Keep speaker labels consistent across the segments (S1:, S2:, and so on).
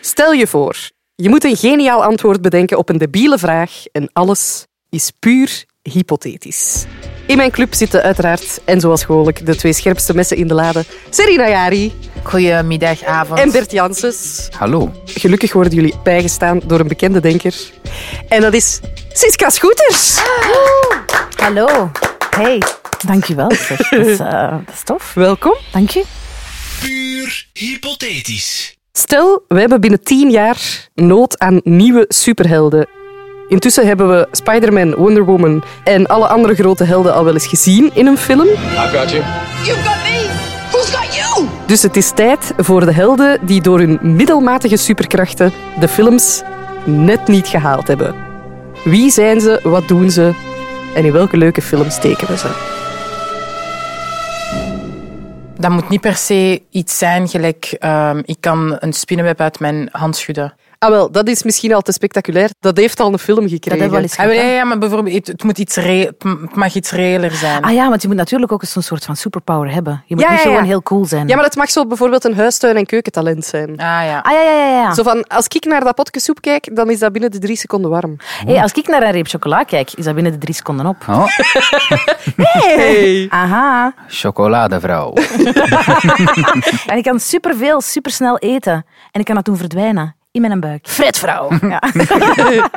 S1: Stel je voor, je moet een geniaal antwoord bedenken op een debiele vraag en alles is puur hypothetisch. In mijn club zitten uiteraard, en zoals gewoonlijk, de twee scherpste messen in de lade. Serena Jari
S2: Goedemiddag, avond.
S1: en Bert Janssens.
S3: Hallo.
S1: Gelukkig worden jullie bijgestaan door een bekende denker. En dat is Siska Scooters.
S2: Hallo. Hey, dankjewel. zeg. Dat is, eh, dat is tof.
S1: Welkom.
S2: Dank je.
S4: Puur hypothetisch.
S1: Stel, we hebben binnen tien jaar nood aan nieuwe superhelden. Intussen hebben we Spider-Man, Wonder Woman en alle andere grote helden al wel eens gezien in een film.
S5: You've got me. Who's got you?
S1: Dus het is tijd voor de helden die door hun middelmatige superkrachten de films net niet gehaald hebben. Wie zijn ze, wat doen ze en in welke leuke films steken we ze?
S2: Dat moet niet per se iets zijn gelijk ehm, ik kan een spinnenweb uit mijn hand schudden.
S1: Ah wel, dat is misschien al te spectaculair. Dat heeft al een film gekregen.
S6: hebben we al eens
S2: Ah, maar ja, ja, maar bijvoorbeeld, het, het moet iets re- het m- het mag iets reëler zijn.
S6: Ah ja, want je moet natuurlijk ook eens een soort van superpower hebben. Je moet
S1: Ja,
S6: niet
S1: ja, ja.
S6: gewoon heel cool zijn.
S1: Ja, maar het mag zo bijvoorbeeld een huistuin- en keukentalent zijn.
S2: Ah, ja.
S6: Ah ja, ja, ja. ja.
S1: Zo van, als ik naar dat potje soep kijk, dan is dat binnen de drie seconden warm.
S6: Hey, als ik naar een reep chocola kijk, is dat binnen de drie seconden op.
S3: Oh,
S1: Hey.
S6: Aha.
S3: chocoladevrouw.
S6: En ik kan superveel, supersnel eten. En ik kan dat doen verdwijnen. In mijn buik. Fredvrouw. Ja.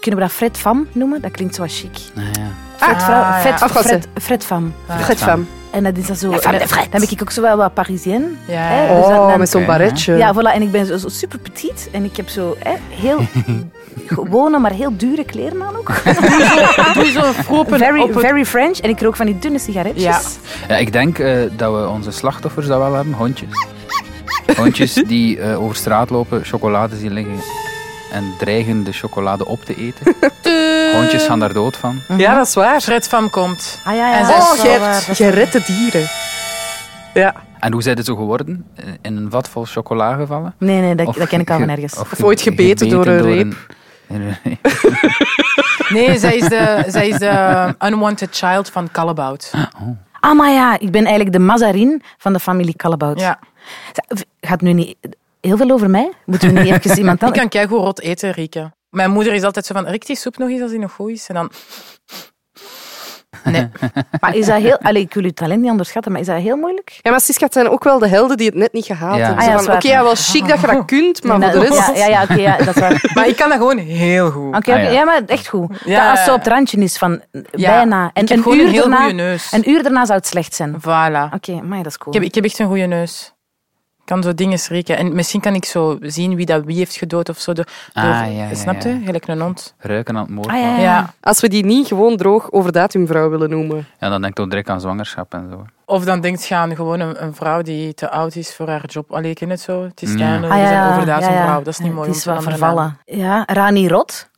S6: Kunnen we dat Fred Fam noemen? Dat klinkt zo chic.
S3: Nou ja.
S6: Fredvrouw.
S2: Ah.
S1: Ah,
S2: ja. Ah.
S6: Fred,
S1: Afwassen. Oh,
S6: Fred, Fred Fam.
S1: Fred fam.
S6: En dat is dan zo...
S5: femme de Fred.
S6: Dan ben ik ook zo wel wat Parisien.
S2: Ja.
S6: Hè, dus dan-
S1: Oh,
S6: dan-
S1: met zo'n
S3: Oké,
S1: barretje.
S6: Ja, voilà. En ik ben zo, zo super petit. En ik heb zo hè, heel gewone, maar heel dure kleren aan ook.
S2: Doe zo'n froppen
S6: Very,
S2: op het-
S6: very French. En ik rook van die dunne sigaretjes.
S2: Ja.
S3: Ja, ik denk eh, dat we onze slachtoffers dat wel hebben, hondjes. Hondjes die eh, over straat lopen, chocolade zien liggen en dreigen de chocolade op te eten. Hondjes gaan daar dood van.
S1: Ja, dat is waar.
S2: Fred van komt.
S6: Ah ja, ja.
S2: En zij
S6: ja.
S2: is
S1: Oh,
S2: dat wel waar,
S1: Gert, jij redt de dieren. Ja,
S3: En hoe zijn ze zo geworden? Eh, In een vat vol chocola gevallen?
S6: Nee, nee, dat,
S3: Of
S6: dat ken ik al
S3: ge-
S6: van ergens.
S1: Of ooit
S3: ge-
S1: gebeten door een
S3: een-
S2: Nee, zij is de, zij is de unwanted child van Callebout.
S6: Ah, maar ja, ik ben eigenlijk de Mazarin van de familie Callebout.
S2: Ja.
S6: Z- Gaat nu niet heel veel over mij? Moeten we niet even iemand
S2: Ik
S6: anders...
S2: kan keigoed rot eten, Rieke. Mijn moeder is altijd zo van, rik die soep nog eens als die nog goed is. En dan... Nee.
S6: Maar is dat heel... Allee, ik wil uw talent niet onderschatten, maar is dat heel moeilijk?
S1: ja maar Siska, het zijn ook wel de helden die het net niet gehaald
S3: Ja.
S1: hebben.
S6: Ah, ja,
S1: Zo
S6: dat
S1: van,
S6: is
S1: Oké,
S6: waar.
S1: ja, wel chic dat je dat kunt, maar voor de rest...
S6: Nou, Ja, ja, ja oké, ja, dat is waar.
S2: Maar ik kan dat gewoon heel goed.
S6: Oké, oké,
S3: Ah, ja.
S6: ja. maar echt goed.
S2: Ja.
S6: Dat als ze op het randje is van eh,
S2: Ja.
S6: bijna. En
S2: Ik heb gewoon
S6: uur
S2: een heel
S6: daarna,
S2: goede neus.
S6: Een uur daarna zou het slecht zijn. Oké,
S2: Voilà.
S6: maar dat is cool.
S2: Ik heb, ik heb echt een goede neus. Ik kan zo dingen schrikken. En misschien kan ik zo zien wie dat wie heeft gedood of zo. Door,
S3: Ah,
S2: door-
S3: ja, ja,
S2: snap je?
S3: ja.
S2: Gelijk een hond.
S3: Ruiken aan het moord.
S6: Ah, ja,
S3: ja.
S6: ja.
S2: Ja.
S1: Als we die niet gewoon droog over datumvrouw willen noemen.
S3: dan denk ik ook direct aan zwangerschap en zo.
S2: Of dan denkt je aan gewoon een, een vrouw die te oud is voor haar job. Allee, ik ken het zo. Het is
S3: Ja.
S2: ja.
S6: Ah, ja, ja,
S2: overdaad
S6: ja, ja.
S2: vrouw. Dat is niet
S6: Ja,
S2: mooi.
S6: Het
S2: om
S6: is
S2: te
S6: wel
S2: veranderen.
S6: vervallen. Ja, Rani Rot.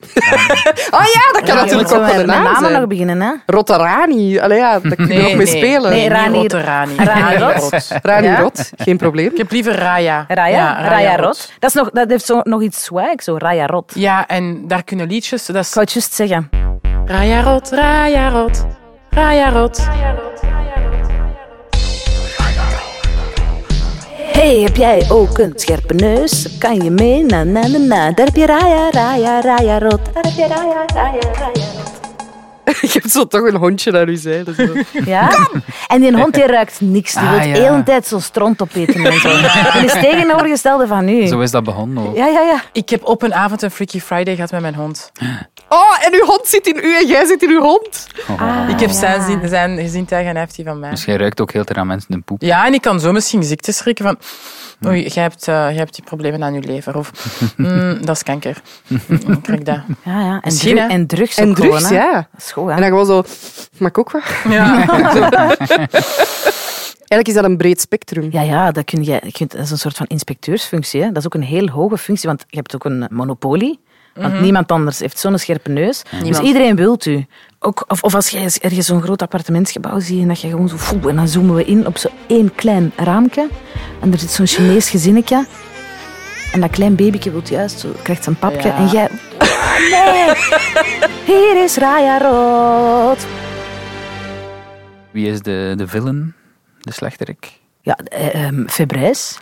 S1: Oh ja, dat kan
S6: Ja,
S1: natuurlijk
S6: je
S1: ook
S6: moet
S1: wel
S6: zo
S1: een
S6: met
S1: naam
S6: namen
S1: zijn.
S6: nog beginnen, hè?
S1: Rotarani. Allee, ja, daar kun je
S2: Nee,
S1: nog mee
S2: nee.
S1: spelen.
S6: Nee, Rani-
S2: Niet rotte Rani.
S6: Rani
S2: Rani
S6: Rot.
S2: Rot.
S1: Rani
S6: Ja.
S1: Rot, geen probleem.
S2: Ik heb liever Raya.
S6: Raya?
S2: Ja,
S6: Raya, Rot. Dat, is nog, dat heeft zo, nog iets swag, zo Raya Rot. Ik
S2: Ja, en daar kunnen liedjes... Dat is
S6: wou het juist zeggen.
S2: Raya Rot, Raya Rot, Raya Rot.
S6: Hey, heb jij ook een scherpe neus? Kan je mee? Na, na, na, na. Daar heb je Raya, Raya, Raya Rot. Daar heb je Raya, Raya, Raya Rot.
S1: Je hebt zo toch een hondje naar u zijde. zo.
S6: Ja? En die hond die ruikt niks. Die
S3: Ah,
S6: wil
S3: ja.
S6: de hele tijd zo'n stront opeten en zo. Dat is tegenovergestelde van nu.
S3: Zo is dat begonnen ook.
S6: Ja, ja, ja.
S2: Ik heb op een avond een Freaky Friday gehad met mijn hond.
S1: Oh, en uw hond zit in u en jij zit in uw hond.
S3: Oh.
S6: Ah.
S2: Ik heb zijn, zin, zijn gezintuig en hij heeft die van mij.
S3: Dus jij ruikt ook heel ter aan mensen de poep.
S2: Ja, en ik kan zo misschien ziektes schrikken van... Oei, jij hebt, eh, jij hebt die problemen aan je lever. Of, mm, dat is kanker. Mm, krijg dat.
S6: ja, ja. En,
S2: Misschien,
S6: dru-
S2: hè.
S6: en drugs
S1: En
S6: ook gewoon,
S1: drugs,
S6: hè.
S1: ja.
S6: Dat is goed, hè.
S1: En dan gewoon zo, mag ik ook wat?
S2: Ja.
S1: Eigenlijk is dat een breed spectrum.
S6: Ja, ja dat, kun je, je kunt- dat is een soort van inspecteursfunctie. Hè. Dat is ook een heel hoge functie, want je hebt ook een monopolie. Want niemand anders heeft zo'n scherpe neus. Dus iedereen wilt u. Ook, of, of als jij eens ergens zo'n groot appartementsgebouw ziet en dat je gewoon zo voelt. En dan zoomen we in op zo'n één klein raampje. En er zit zo'n Chinees gezinnetje. En dat klein babyke wilt juist, zo, krijgt zijn papje.
S2: Ja.
S6: En jij... Ah, nee! Hier is Raya Rood.
S3: Wie is de, de villain? De slechterik?
S6: Ja, eh, ehm, Febrijs.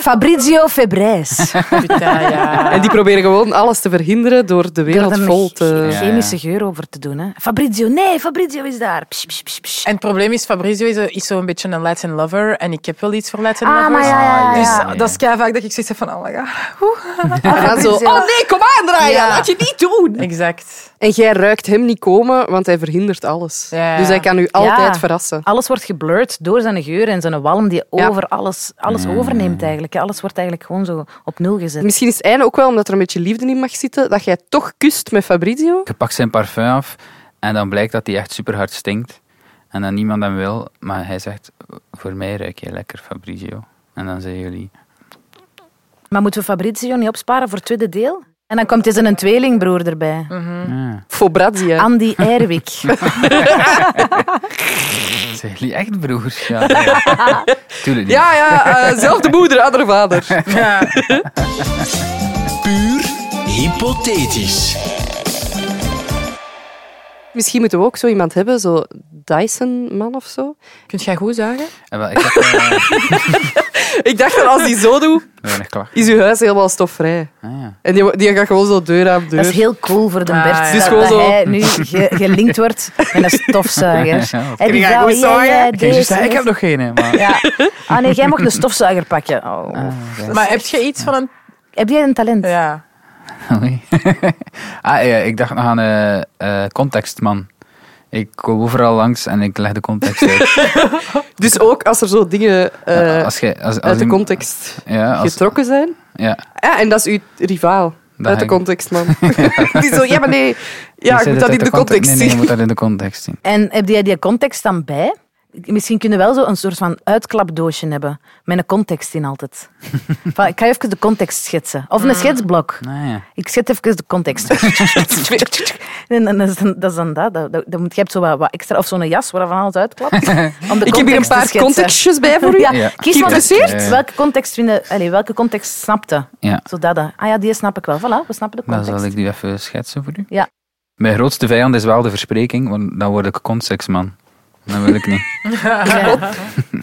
S6: Fabrizio Febrijs.
S2: Putain, ja.
S1: En die proberen gewoon alles te verhinderen door de
S6: Door
S1: wereld
S6: er
S1: vol
S6: een
S1: te...
S6: ge-
S3: Ja,
S6: chemische geur over te doen. Hè. Fabrizio, nee, Fabrizio is daar. Psh, psh, psh, psh.
S2: En het probleem is, Fabrizio is, eh, is zo'n beetje een Latin lover. En ik heb wel iets voor Latin
S6: Ah, maar
S2: lovers.
S6: ja, ja, ja.
S2: Dus
S6: ja.
S2: dat is kei vaak dat ik zoiets heb van, oh my god.
S1: En dan zo,
S6: Fabrizio.
S1: oh nee, kom aan, Raya,
S2: Ja.
S1: laat je niet doen.
S2: Exact.
S1: En jij ruikt hem niet komen, want hij verhindert alles.
S2: Ja.
S1: Dus hij kan u altijd
S6: Ja.
S1: verrassen.
S6: Alles wordt geblurred door zijn geur en zijn walm die
S1: Ja.
S6: over alles, alles
S3: Mm.
S6: overneemt eigenlijk. hè. Alles wordt eigenlijk gewoon zo op nul gezet.
S1: Misschien is het einde ook wel omdat er een beetje liefde in mag zitten, dat jij toch kust met Fabrizio.
S3: Je pakt zijn parfum af en dan blijkt dat hij echt super hard stinkt. En dan niemand hem wil, maar hij zegt: Voor mij ruik je lekker, Fabrizio. En dan zeggen jullie:
S6: Maar moeten we Fabrizio niet opsparen voor het tweede deel? En dan komt eens een tweelingbroer erbij.
S3: "Ah."
S1: Fobrazia.
S6: Andy Erwik.
S3: Zijn jullie echt broers? Ja, ja. Tuurlijk niet.
S1: Ja, ja, eh, zelfde moeder, andere vader.
S2: Ja.
S4: Puur hypothetisch.
S1: Misschien moeten we ook zo iemand hebben, zo Dyson-man of zo.
S2: Kunt jij goed zagen?
S3: En wel, ik heb eh,
S1: Ik dacht dat als die zo doet,
S3: weinig klachten.
S1: is uw huis helemaal stofvrij.
S3: Ah, ja.
S1: En die, die gaat gewoon zo deur aan deur.
S3: Dus-
S6: Dat is heel cool voor de
S2: Ah,
S6: Bert.
S2: ja.
S6: dat-
S1: Dus gewoon
S6: dat
S1: zo-
S6: hij nu ge- gelinkt wordt met een stofzuiger.
S3: Ja,
S6: Heb je
S3: ik
S6: vrouw,
S3: goed
S6: ja, ja,
S3: Ik,
S6: deze.
S3: ik heb nog geen, hè, maar.
S6: Ja. Ah nee, jij mocht een stofzuiger pakken.
S3: Ah.
S6: Oh.
S2: Maar heb je iets van een...
S6: Heb jij een talent?
S2: Ja.
S3: Oei. ah, ja, ik dacht nog aan eh eh, context, man. Ik kom overal langs en ik leg de context uit.
S1: Dus ook als er zo dingen eh,
S3: Ja, als je, als, als
S1: uit de
S3: iemand-
S1: context
S3: Ja, als-
S1: getrokken zijn.
S3: ja.
S1: Ja, en dat is uw rivaal. uit de
S3: hangt-
S1: context, man. die zo, ja, maar nee. Ja,
S3: Ik
S1: ik
S3: zei
S1: moet dat
S3: uit
S1: in de
S3: cont-
S1: context
S3: Nee, nee, je
S1: zien.
S3: moet dat in de context zien.
S6: En heb jij die context dan bij? Misschien kunnen we wel zo een soort van uitklapdoosje hebben. Met een context in altijd. Van, ik ga even de context schetsen. Of
S1: Mm.
S6: een schetsblok.
S3: Nou ja.
S6: Ik schet even de context. en dan is dan- dat is dan dat. dat, dat, dat moet- je hebt zo wat, wat extra... Of zo'n jas waar van alles uitklapt. Om de
S1: Ik heb hier een
S6: context te
S1: paar
S6: schetsen.
S1: contextjes bij voor u.
S6: Ja,
S3: Ja.
S6: Kies wat
S3: Geïnteresseerd?
S6: het- welke context vinden, allez, welke context snapte?
S3: Ja.
S6: Zo dat, dat. Ah ja, die snap ik wel. Voilà, we snappen de
S3: Dan
S6: context.
S3: zal ik die even schetsen voor u.
S6: Ja.
S3: Mijn grootste vijand is wel de verspreking, want dan word ik contextman. Dat wil ik niet.
S6: Ja,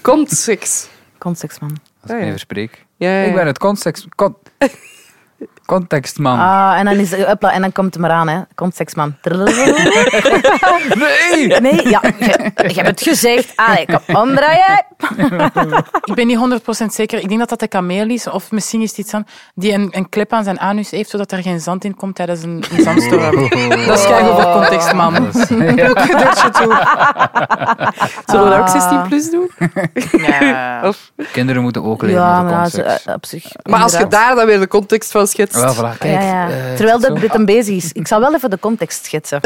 S1: Context.
S6: context, man.
S1: Ah,
S3: Als ik
S1: ja.
S3: mij verspreek.
S1: Ja, ja.
S3: Ik ben het context... Con
S1: Oh.
S3: contextman.
S6: Ah, en dan, is, hopla, en dan komt het maar aan, hè. Context, man.
S3: Nee!
S6: Nee, ja, je, je hebt het gezegd. Allee, kom omdraaien.
S2: Ik ben niet 100% zeker. Ik denk dat dat de kameel is. Of misschien is het iets aan... Die een, een klep aan zijn anus heeft, zodat er geen zand in komt tijdens een, een zandstorm. Dat is kijk over context, man.
S3: Dat is- ja.
S1: Zullen we
S6: Ah.
S1: dat ook 16 plus doen?
S2: Ja.
S1: Of-
S3: Kinderen moeten ook leren
S6: Ja,
S3: over
S6: maar
S1: nou,
S3: context.
S6: zo, eh, op zich.
S1: maar als je
S6: inderdaad.
S1: daar dan weer de context van schetst.
S3: Wel, voilà,
S6: Ja,
S3: kijk.
S6: ja.
S3: eh,
S6: Terwijl
S3: zo.
S6: dat dit een bezig is. Ik zal wel even de context schetsen.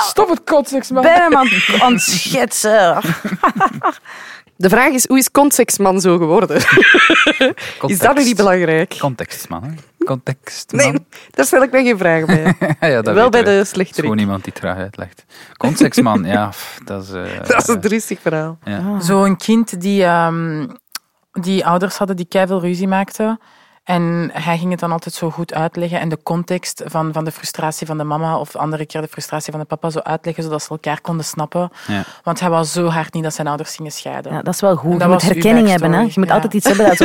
S2: Stop het context, man.
S6: Ben hem aan, het- aan het schetsen.
S1: De vraag is, hoe is contextman zo geworden? Is dat nu niet belangrijk?
S3: Contextman, hè? Contextman.
S1: Nee, daar stel ik mij geen vragen bij.
S3: ja,
S1: Wel bij
S3: dat weten we.
S1: de
S3: Het is
S1: slechterik.
S3: gewoon iemand die traag uitlegt. Contextman, ja, pff, dat is... eh,
S1: Dat is een triestig verhaal.
S2: Zo'n kind die, ehm, die ouders hadden die keiveel ruzie maakten. En hij ging het dan altijd zo goed uitleggen. En de context van, van de frustratie van de mama of andere keer de frustratie van de papa zo uitleggen, zodat ze elkaar konden snappen.
S3: Ja.
S2: Want hij was zo hard niet dat zijn ouders gingen scheiden.
S6: Ja, dat is wel goed.
S2: En
S6: Je
S2: dat
S6: moet
S2: was uw
S6: herkenning hebben.
S2: backstory.
S6: Hè. Je moet
S2: Ja.
S6: altijd iets hebben dat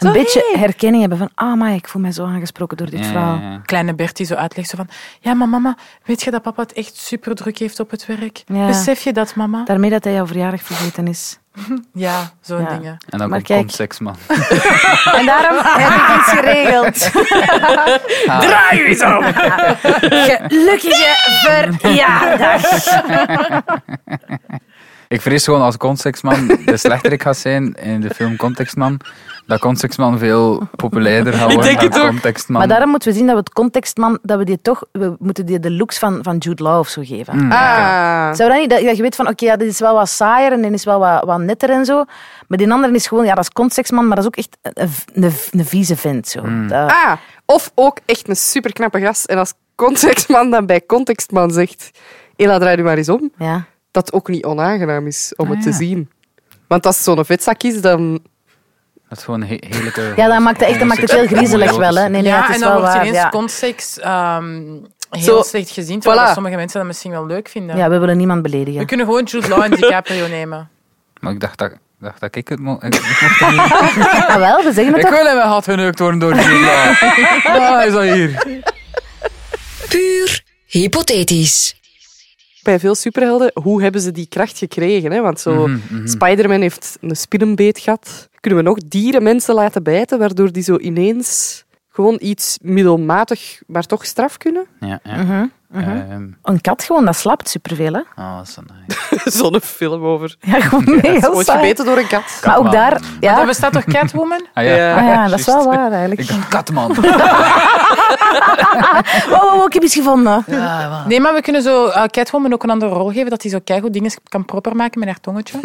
S6: zo een beetje herkenning hebben. Van, ah, maar ik voel mij zo aangesproken door dit
S3: ja,
S6: verhaal.
S3: ja, ja.
S2: Kleine Bertie zo uitlegt zo van... Ja, maar mama, weet je dat papa het echt super druk heeft op het werk?
S6: Ja.
S2: Besef je dat, mama?
S6: Daarmee dat hij jouw verjaardag vergeten is.
S2: Ja, zo'n
S6: Ja.
S2: dingen.
S3: En
S6: Maar
S3: dan komt
S6: kijk.
S3: contextman.
S6: En daarom heb ik iets geregeld.
S1: Draai je eens om!
S6: Gelukkige verjaardag.
S3: Ik vrees gewoon als contextman de slechterik gaat zijn in de film Contextman, dat contextman veel populairder gaat worden
S1: denk het
S3: dan
S1: ook.
S3: contextman.
S6: Maar daarom moeten we zien dat we het contextman, dat we die toch, we moeten die de looks van, van Jude Law of zo geven.
S1: Ah.
S6: Zou dat niet, dat dat je weet van, oké, ja, dit is wel wat saaier en dit is wel wat, wat netter en zo. Maar die andere is gewoon, ja, dat is contextman, maar dat is ook echt een, een, een vieze vent. Zo. Dat-
S1: Ah, of ook echt een superknappe gast. En als contextman dan bij contextman zegt... Ela, draai je maar eens om.
S6: ja.
S1: Dat ook niet onaangenaam is om
S3: Ah,
S1: het te
S3: ja.
S1: zien. Want als het zo'n vetzak is, dan...
S3: Dat is gewoon een he- heerlijke...
S6: ja, dat maakt het, echt, dat maakt het heel griezelig wel. Hè. Nee, nee,
S2: ja,
S6: het is
S2: en dan
S6: wel
S2: wordt
S6: waar,
S2: ineens
S6: ja.
S2: context ehm, heel
S1: Zo,
S2: slecht gezien, terwijl
S1: voilà.
S2: dat sommige mensen dat misschien wel leuk vinden.
S6: Ja, we willen niemand beledigen.
S2: We kunnen gewoon Jude Law en DiCaprio nemen.
S3: Maar ik dacht dat, dacht dat ik het mo- ik, ik mocht dat niet.
S6: Ah, wel, we zeggen het
S3: Ik
S6: toch?
S3: wil hem had geneukt worden door die vrouw. Ah, is dat hier?
S7: Puur hypothetisch.
S1: Bij veel superhelden, hoe hebben ze die kracht gekregen? Hè? Want zo,
S6: Mhm,
S3: Mm,
S1: Spider-Man heeft een spinnenbeet gehad. Kunnen we nog dieren mensen laten bijten, waardoor die zo ineens gewoon iets middelmatig, maar toch straf kunnen?
S3: Ja, ja.
S6: Mhm.
S3: Ehm,
S6: Een kat gewoon, dat slaapt superveel. Hè?
S3: ah, dat is zo nice.
S1: Zo'n film over.
S6: Ja, gewoon nee, heel
S1: Wordt
S6: saai.
S1: gebeten door een kat.
S6: Maar ook
S3: Wow.
S6: daar... Ja,
S2: Dan bestaat toch Catwoman?
S3: Ah, ja.
S1: Ja.
S6: Ah ja, dat is wel
S3: Juist.
S6: waar eigenlijk.
S3: Ik dacht, katman.
S6: Wow, wow, wow, Oh, ik heb iets gevonden.
S2: Nee, maar we kunnen zo eh, Catwoman ook een andere rol geven, dat hij zo keigoed dingen kan proper maken met haar tongetje.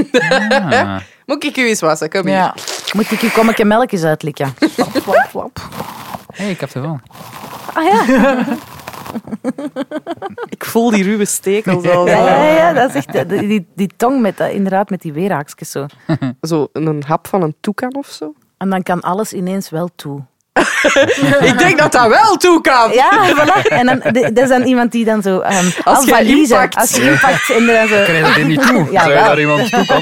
S3: Ah.
S1: Moet ik u eens wassen? Kom hier.
S2: Ja.
S6: Moet ik hier kom ik een melkjes uitlikken?
S3: hey, ik heb er wel.
S6: Ah ja,
S1: Ik voel die ruwe stekels al.
S6: ja, ja, ja, dat is echt... eh, Die, die, die tong met, dat- inderdaad, met die weerhaakjes zo.
S1: Zo een hap van een toekan of zo.
S6: En dan kan alles ineens wel toe.
S1: Ik denk dat dat wel toe kan.
S6: Ja, voilà. En dan, de- dat is dan iemand die dan zo... ehm
S1: Als
S6: als
S1: je impact.
S6: Als je impact. En dan zo...
S3: Ik krijg dat hier niet toe.
S6: Ja,
S3: zei
S6: wel.
S3: daar iemand toe kwam.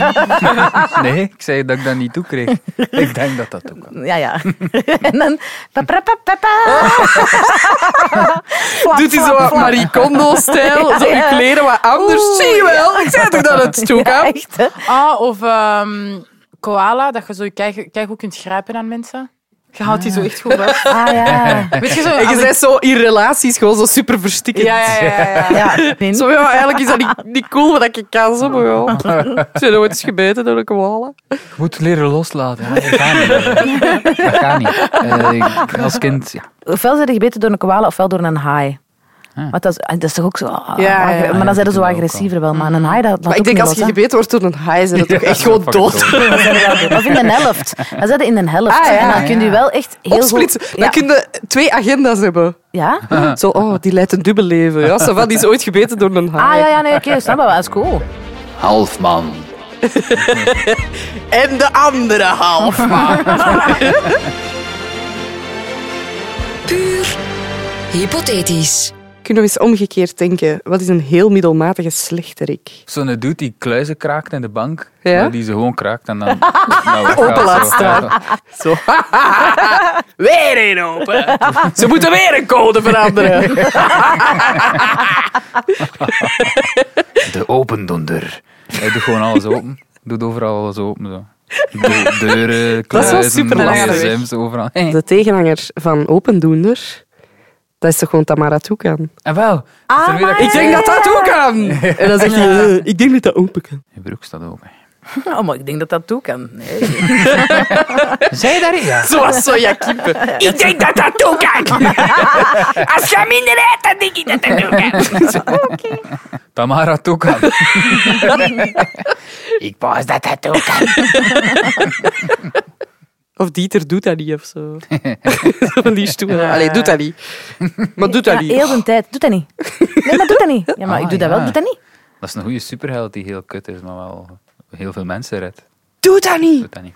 S3: Nee, ik zei dat ik dat niet toe kreeg. Ik denk dat dat toe kwam.
S6: Ja, ja. En dan... pa, pa, pa, pa, pa. Flap,
S1: Doet hij zo
S6: flap,
S1: wat
S6: flap.
S1: Marie Kondo-stijl?
S6: Ja,
S1: zo je
S6: ja.
S1: kleren wat anders?
S6: Oeh,
S1: Zie je wel? Ik zei toch dat het toe
S6: Ja,
S1: kan?
S6: echt, hè.
S2: Ah, of ehm, koala, dat je zo kei- keigoed kunt grijpen aan mensen. Je houdt die zo echt goed vast.
S6: Ah ja.
S2: Weet je zo...
S1: En
S2: als
S1: je
S2: ik-
S1: bent zo in relaties gewoon zo super verstikkend.
S2: Ja, ja, ja. ja, ja.
S6: Ja, nee.
S1: Zo, ja, eigenlijk is dat niet, niet cool wat ik kan, zo, maar ja. Ik ben nooit eens gebeten door een koala.
S3: Je moet leren loslaten. Ja, dat gaat niet. Dat gaat niet. Eh, ik- als kind, ja.
S6: Ofwel zijn ze gebeten door een koala, ofwel door een haai.
S3: Ah.
S6: Want dat is, dat is toch ook zo... ah,
S1: Ja, ja, ja.
S6: agre- Maar dan
S3: Ja,
S6: zijn ze
S3: dat
S6: zo
S3: ook
S6: agressiever wel. Maar een haai, dat laat
S1: Maar ik
S6: ook
S1: denk,
S6: niet
S1: als je
S6: los, hè.
S1: gebeten wordt door een haai, zijn dat toch echt
S3: Ja,
S1: gewoon
S3: fucking
S1: dood.
S6: Of in de helft. Dan zit je in de helft.
S1: Ah, ja,
S6: en dan
S3: ja,
S6: kun je
S3: ja.
S6: wel echt heel
S1: Opsplitsen.
S6: goed...
S1: Dan
S6: Ja.
S1: kun je twee agenda's hebben.
S6: ja?
S1: Zo, oh, die leidt een dubbel leven. Ja, ça va, die is ooit gebeten door een haai.
S6: Ah, ja, ja, nee, oké, snap je wel. Dat is cool.
S4: Halfman.
S1: En de andere half.
S7: Puur hypothetisch.
S1: Kunnen we eens omgekeerd denken? Wat is een heel middelmatige slechterik?
S3: Zo'n dude die kluizen kraakt in de bank,
S1: Ja?
S3: maar die ze gewoon kraakt en dan... nou, weggaat,
S1: Open laat
S3: zo.
S1: staan. Zo. weer één open. Ze moeten weer een code veranderen.
S3: De opendonder. Hij doet gewoon alles open. Doet overal alles open. Zo. De, deuren,
S1: Dat is wel
S3: kluizen,
S1: superlastig.
S3: gsm's, overal. Hey.
S1: De tegenhanger van Opendoender, dat is toch gewoon Tamara Toekan?
S3: En wel. is er weer een-
S1: Ik denk dat dat ook kan. En dan zegt hij, eh, ik denk dat dat open kan.
S3: Je broek staat open.
S6: Oh, maar ik denk dat dat toe kan. Nee.
S3: Zij daarin? Ja.
S1: Zoals sojakippen. Ik denk dat dat toe kan. Als je minder eet, dan denk ik dat dat toe kan.
S3: Tamara Toekan.
S4: Ik was dat dat ook.
S1: Of Dieter doet dat niet of zo. Van die stoere. Allee, doet dat niet. Maar doet dat
S6: Ja,
S1: niet.
S6: heel de tijd. Doe dat niet. Nee, maar doe dat niet. Ja, maar
S3: Ah,
S6: ik doe dat
S3: ja.
S6: wel. Doe dat niet.
S3: Dat is een goede superheld die heel kut is, maar wel heel veel mensen redt.
S1: Doe dat niet.
S3: Doet dat niet.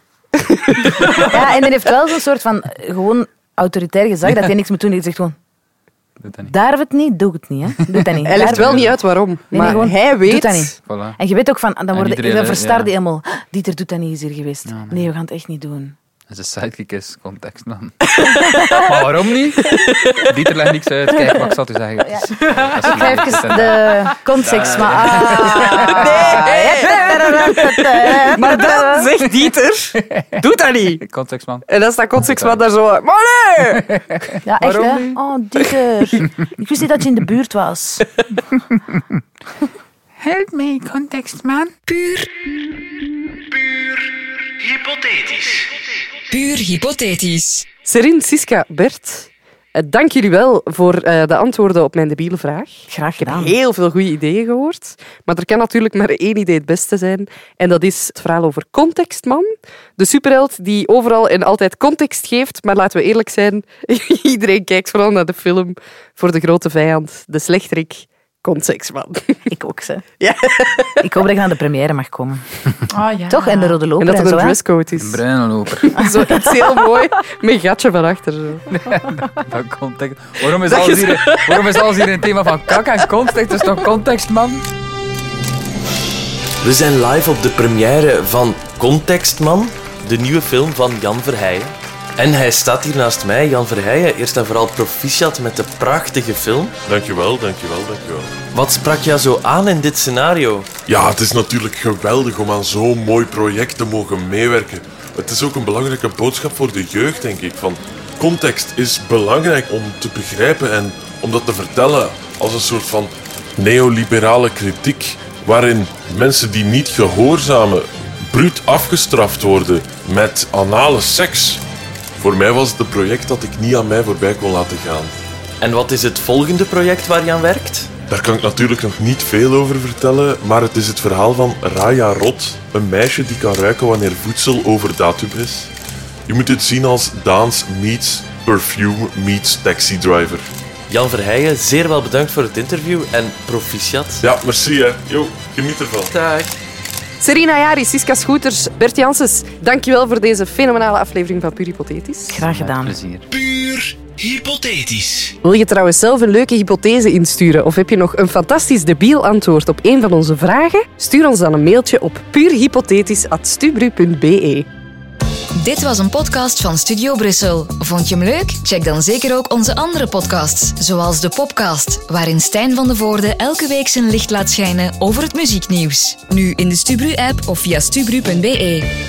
S6: Ja, en die heeft wel zo'n soort van eh, gewoon autoritair gezag dat hij niks moet doen. Die zegt gewoon,
S3: Doet dat niet.
S6: daar het niet, doe het niet. Hè. Doe dat niet.
S1: Hij
S6: Daar-
S1: legt wel niet uit waarom.
S6: nee,
S1: Maar
S6: gewoon,
S1: hij weet...
S6: doet dat niet.
S3: Voilà.
S6: En je weet ook van, dan, worden,
S3: iedereen,
S6: dan
S3: hè,
S6: verstar
S3: ja.
S6: die helemaal. Dieter doet dat niet, is hier geweest.
S3: Ja,
S6: nee.
S3: nee.
S6: we gaan het echt niet doen.
S3: Dat is een sidekick is context man. maar waarom niet? Dieter legt niks uit. Kijk, wat ik zat u zeggen. Het is- dat is-
S6: Ik ga
S3: het is
S6: even
S3: een-
S6: de context, maar... Ah.
S1: Maar dan zegt Dieter, doe dat niet.
S3: Context man.
S1: En dan staat Kotsiksman daar zo... Maar nee!
S6: Ja, echt
S1: Waarom
S6: hè? Oh, Dieter. Ik wist niet dat je in de buurt was.
S2: Help me, context man.
S7: Puur hypothetisch.
S1: Serin, Siska, Bert, eh, dank jullie wel voor eh, de antwoorden op mijn debiele vraag.
S6: Graag gedaan.
S1: Heel veel goede ideeën gehoord. Maar er kan natuurlijk maar één idee het beste zijn. En dat is het verhaal over Contextman. De superheld die overal en altijd context geeft. Maar laten we eerlijk zijn, iedereen kijkt vooral naar de film voor de grote vijand, de slechterik. Contextman.
S6: Ik ook, ze.
S1: Ja.
S6: Ik hoop dat ik naar de première mag komen.
S2: Ah ja.
S6: Toch? En de rode
S1: En
S6: loper
S1: dat
S6: en,
S1: het
S6: zo,
S1: een
S6: hè?
S1: dresscode
S3: Een
S1: is.
S3: bruine loper.
S1: Zo iets heel mooi met een gatje van achter. zo.
S3: Dat context. Waarom is, alles hier, waarom is alles hier een thema van kak en context? Het is toch context, man?
S8: We zijn live op de première van Contextman, de nieuwe film van Jan Verheijen. En hij staat hier naast mij, Jan Verheijen. Eerst en vooral proficiat met de prachtige film.
S9: Dankjewel, dankjewel, dankjewel.
S8: Wat sprak jou zo aan in dit scenario?
S9: Ja, het is natuurlijk geweldig om aan zo'n mooi project te mogen meewerken. Het is ook een belangrijke boodschap voor de jeugd, denk ik. Van context is belangrijk om te begrijpen en om dat te vertellen als een soort van neoliberale kritiek, waarin mensen die niet gehoorzamen bruut afgestraft worden met anale seks. Voor mij was het een project dat ik niet aan mij voorbij kon laten gaan.
S8: En wat is het volgende project waar je aan werkt?
S9: Daar kan ik natuurlijk nog niet veel over vertellen, maar het is het verhaal van Raya Rot, een meisje die kan ruiken wanneer voedsel over datum is. Je moet dit zien als Dance meets Perfume meets Taxi Driver.
S8: Jan Verheijen, zeer wel bedankt voor het interview en proficiat.
S9: Ja, merci hè. Yo, geniet ervan.
S8: Dag.
S1: Serena Jari, Siska Scooters, Bert Janssens, dankjewel voor deze fenomenale aflevering van Puur Hypothetisch.
S6: Graag
S3: Met
S6: gedaan.
S3: plezier.
S4: Puur hypothetisch.
S1: Wil je trouwens zelf een leuke hypothese insturen of heb je nog een fantastisch debiel antwoord op een van onze vragen? Stuur ons dan een mailtje op puurhypothetisch.stubru.be.
S7: Dit was een podcast van Studio Brussel. Vond je hem leuk? Check dan zeker ook onze andere podcasts, zoals de Popcast, waarin Stijn van de Voorde elke week zijn licht laat schijnen over het muzieknieuws. Nu in de Stubru-app of via stubru.be.